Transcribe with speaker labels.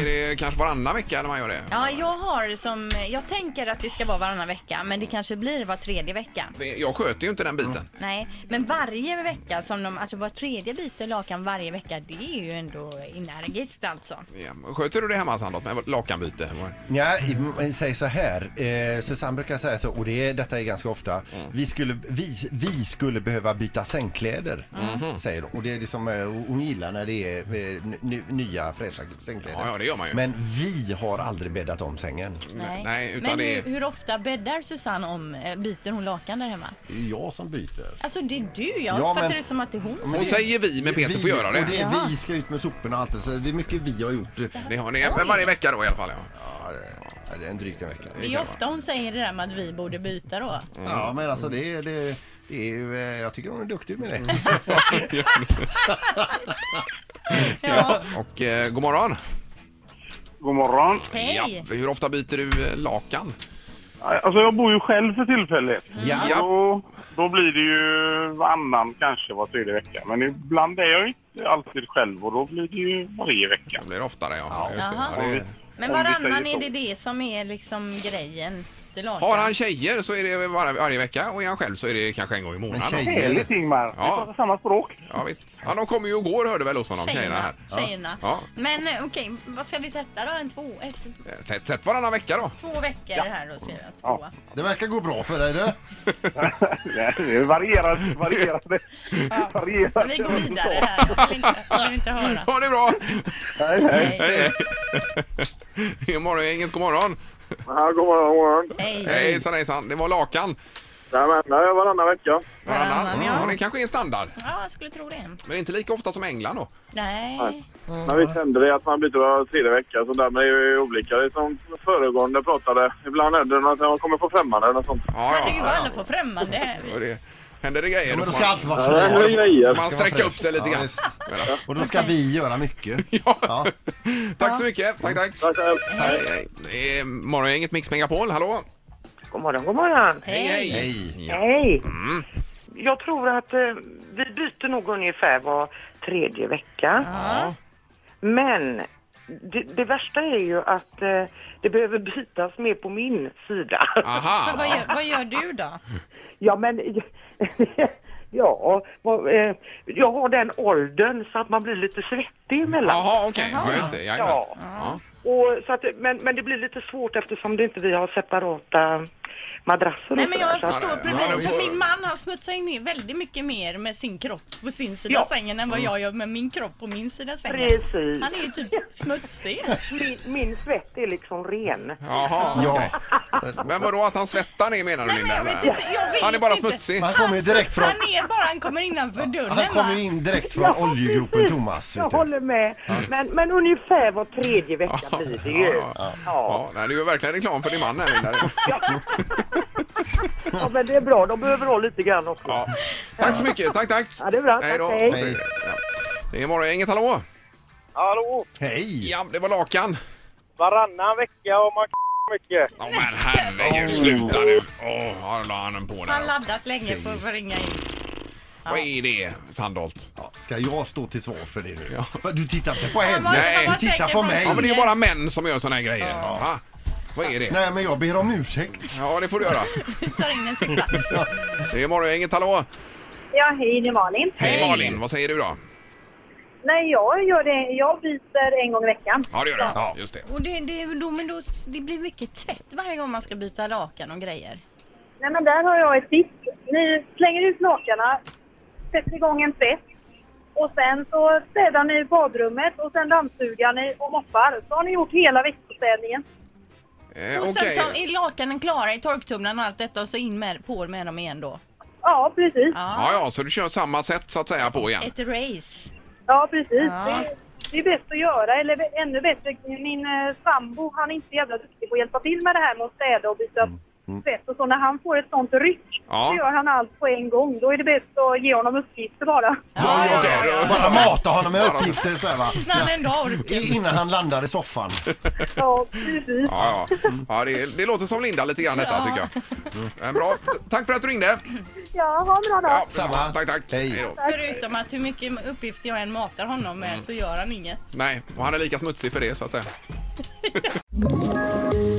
Speaker 1: Är det kanske varannan vecka när man gör det?
Speaker 2: Ja, jag har som, jag tänker att det ska vara varannan vecka, men det kanske blir var tredje vecka.
Speaker 1: Det- Jag sköter ju inte den biten.
Speaker 2: Nej, men varje vecka som de, alltså var tredje byter lakan varje vecka, det är ju ändå energiskt alltså.
Speaker 1: Ja. Sköter du det hemma Sandholt med lakanbyte?
Speaker 3: Ja, men säg så här. Eh, Susanne brukar säga så, och det, är- detta är ganska ofta. Vi, skulle, vi, vi skulle behöva byta sängkläder, säger hon. Och det är liksom, eh, hon gillar när det är eh, ny, nya fräscha sängkläder.
Speaker 1: Ja, ja, det gör man ju.
Speaker 3: Men vi har aldrig bäddat om sängen.
Speaker 1: nej, utan
Speaker 2: men
Speaker 1: det är-
Speaker 2: hur, hur ofta bäddar Susanne om, eh, byter hon lakan där hemma?
Speaker 3: Det är jag som byter.
Speaker 2: Alltså det är du, jag
Speaker 3: Ja,
Speaker 2: uppfattar
Speaker 3: men-
Speaker 2: det som att det är hon.
Speaker 1: Hon säger vi, men Peter
Speaker 3: vi,
Speaker 1: får göra
Speaker 3: Och det
Speaker 1: det.
Speaker 2: Jaha.
Speaker 3: är vi ska ut med soporna och allt det, så det är mycket vi har gjort. eh,
Speaker 1: Det har ni men varje vecka då i alla fall. Ja.
Speaker 3: Ja, det- det är en drygt en vecka.
Speaker 2: Det är ju ofta hon säger det där med att vi borde byta då.
Speaker 3: Ja, men alltså det, är- det, det är ju, eh, jag tycker hon är duktig med det.
Speaker 2: Ja,
Speaker 1: Och eh, god morgon.
Speaker 4: God morgon.
Speaker 2: hej!
Speaker 1: Ja, hur ofta byter du eh, lakan?
Speaker 4: Alltså jag bor ju själv för tillfället.
Speaker 1: Mm.
Speaker 3: Ja.
Speaker 4: Då, då blir det ju varannan kanske var tredje vecka. Men ibland är jag ju inte alltid själv och då blir det ju varje vecka.
Speaker 1: Det blir oftare. Ja. Just det.
Speaker 2: Jaha.
Speaker 1: Ja, det är...
Speaker 2: Men
Speaker 4: Om vi säger
Speaker 2: varannan är
Speaker 4: så.
Speaker 2: det det som är liksom grejen. till lakan.
Speaker 1: Har han tjejer så är det var, varje vecka och är han själv så är det kanske en gång i månaden.
Speaker 3: Men tjejer-
Speaker 4: Härligt Ingmar!
Speaker 1: Ja.
Speaker 4: Vi pratar samma språk.
Speaker 1: Ja, visst. Ja, de kommer ju och går hörde väl hos honom, tjejerna här.
Speaker 2: Tjejerna.
Speaker 1: Ja.
Speaker 2: Men eh, okej, vad ska vi sätta då? En två, ett,
Speaker 1: Eh, Sätt, sätt varannan vecka då.
Speaker 2: två veckor här och ser jag två.
Speaker 3: Det verkar gå bra för dig du.
Speaker 4: Nej, det är varierande, varierande,
Speaker 2: Men
Speaker 4: varierande.
Speaker 2: Vi går vidare här. Jag vill inte, jag vill inte höra.
Speaker 1: Ha det bra!
Speaker 4: Nej, nej.
Speaker 2: Hej.
Speaker 1: Det är morgongänget, god morgon!
Speaker 5: Ja, god morgon, god morgon.
Speaker 2: Hej.
Speaker 1: Hejsan hejsan, det var lakan.
Speaker 5: Jajamän, det är varannan vecka.
Speaker 2: Varannan, ja.
Speaker 1: ja. Det kanske är en standard,
Speaker 2: Ja, jag skulle tro det.
Speaker 1: men inte lika ofta som England då.
Speaker 2: Nej.
Speaker 5: Men visst händer det att man byter var tredje vecka, så därmed är det ju olika. Det är som föregående pratade. Ibland händer det något när man kommer på främmande eller något sånt.
Speaker 1: Ja,
Speaker 2: Herregud vad alla får främmande.
Speaker 1: Och det, händer det grejer
Speaker 3: Men
Speaker 1: får
Speaker 3: då ska
Speaker 1: man,
Speaker 3: allt vara
Speaker 5: Ja, det
Speaker 3: fräscht.
Speaker 5: händer grejer.
Speaker 1: man sträcka upp sig lite
Speaker 3: Ja,
Speaker 1: grann.
Speaker 3: visst. Och då ska vi göra mycket.
Speaker 1: Ja. tack så mycket, tack tack.
Speaker 5: Tack själv.
Speaker 1: Hej, hej. Det är morgongänget Mix Megapol, hallå!
Speaker 6: God morgon, god morgon.
Speaker 2: Hej.
Speaker 3: Hej.
Speaker 1: Ja.
Speaker 6: Hej.
Speaker 2: Mm.
Speaker 6: Jag tror att eh, vi byter nog ungefär var tredje vecka.
Speaker 1: Ja.
Speaker 6: Men det, det värsta är ju att eh, det behöver bytas mer på min sida.
Speaker 2: Så
Speaker 1: Aha!
Speaker 2: vad, gör, vad gör du då?
Speaker 6: Ja, men... Ja, vad, eh, jag har den åldern så att man blir lite svettig emellan.
Speaker 1: Jaha, okej. Ja, just det. jajamän.
Speaker 6: Ja.
Speaker 1: Ja.
Speaker 6: Och, så att, men, men det blir lite svårt eftersom det inte vi har separata madrasser. och
Speaker 2: Nej men
Speaker 6: sådär,
Speaker 2: jag
Speaker 6: så att-
Speaker 2: förstår
Speaker 1: nej,
Speaker 2: precis.
Speaker 1: ja, visst.
Speaker 2: För min man han smutsar ju ner väldigt mycket mer med sin kropp på sin sida
Speaker 6: Ja.
Speaker 2: sängen än vad
Speaker 1: Mm.
Speaker 2: jag gör med min kropp på min sida sängen.
Speaker 6: Precis.
Speaker 2: Han är ju typ smutsig.
Speaker 6: Min, min svett är liksom ren.
Speaker 1: Jaha, okej. Men vadå att han svettar ner menar du
Speaker 2: Nej, men
Speaker 1: Linda?
Speaker 2: jag vet inte, jag vet
Speaker 1: han är bara
Speaker 2: inte.
Speaker 1: smutsig.
Speaker 3: Han kommer ju direkt från,
Speaker 2: Han är bara, han kommer innanför dörren.
Speaker 3: han kommer ju
Speaker 2: va?
Speaker 3: in direkt från oljegropen Thomas.
Speaker 6: Jag
Speaker 3: Vet du.
Speaker 6: håller med. Men, men ungefär var tredje vecka blir det ju.
Speaker 1: Ja, ja.
Speaker 6: Ja,
Speaker 1: Ja, nej, du är verkligen reklam för din man här Linda.
Speaker 6: ja, men det är bra. De behöver ha lite grann också.
Speaker 1: Ja. Tack så mycket, tack tack.
Speaker 6: Ja, det är bra.
Speaker 1: Hej då.
Speaker 6: Tack, hej.
Speaker 1: Hej. Ja. Det är morgongänget, hallå.
Speaker 5: Hallå!
Speaker 3: Hej.
Speaker 1: Ja, det var lakan.
Speaker 5: Varannan vecka och man k- mycket.
Speaker 1: Ja men herregud, sluta nu. Åh, här la han den på
Speaker 2: Han
Speaker 1: där
Speaker 2: har
Speaker 1: också.
Speaker 2: laddat länge för att få ringa in.
Speaker 1: Vad är det, Sandholt?
Speaker 3: Ja, Ska jag stå till svar för det nu? Va, Du tittar inte på henne.
Speaker 2: var-
Speaker 1: Nej.
Speaker 2: han var
Speaker 3: Titta
Speaker 2: säker
Speaker 3: på mig.
Speaker 1: Ja, men det är ju bara män som gör såna här grejer. Va? Vad är det?
Speaker 3: Nej, men jag ber om ursäkt.
Speaker 1: Ja, det får du göra.
Speaker 2: Vi tar in den sista.
Speaker 1: Det är morgongänget, hallå.
Speaker 7: Ja, hej, det är Malin.
Speaker 1: Hej Malin, vad säger du då?
Speaker 7: Nej, jag, gör det, jag byter en gång i veckan.
Speaker 1: Ja, det gör du. Ja, just det.
Speaker 2: Och det, det, är då, men då, det blir mycket tvätt varje gång man ska byta lakan och grejer.
Speaker 7: Nej, men där har jag ett tips. Ni slänger ut lakanen, sätter igång en tvätt och sen så städar ni badrummet och sen dammsugar ni och moppar. Så har ni gjort hela veckostädningen.
Speaker 1: Eh,
Speaker 2: och sen
Speaker 1: Okej.
Speaker 2: tar, är lakanen klara i torktumlaren och allt detta och så in med, på med dem igen då.
Speaker 7: Ja, precis.
Speaker 2: Ja.
Speaker 1: Ja, ja, så du kör samma sätt så att säga på igen.
Speaker 2: Ett race.
Speaker 7: Ja, precis.
Speaker 2: Ja.
Speaker 7: Det, det är bäst att göra, eller ännu bättre, min eh, sambo han är inte så jävla duktig på att hjälpa till med det här med att städa och byta tvätt och så. När han får ett sånt ryck,
Speaker 1: Ja.
Speaker 7: så gör han allt på en gång. Då är det bäst att ge honom uppgifter bara.
Speaker 1: Ja, ja, ja, ja.
Speaker 3: Bara mata honom med uppgifter så här, va?
Speaker 2: När han ändå orkar.
Speaker 3: I- Innan han landar i soffan.
Speaker 7: Ja, precis.
Speaker 1: Ja, ja. ja det, det låter som Linda lite grann detta tycker jag. Men bra. T- Tack för att du ringde.
Speaker 7: Ja, ha en bra dag.
Speaker 1: Ja,
Speaker 3: Samma.
Speaker 1: Tack, tack.
Speaker 3: Hej.
Speaker 1: då.
Speaker 2: Förutom att hur mycket uppgifter jag än matar honom
Speaker 3: Mm.
Speaker 2: med så gör han inget.
Speaker 1: Nej, och han är lika smutsig för det så att säga.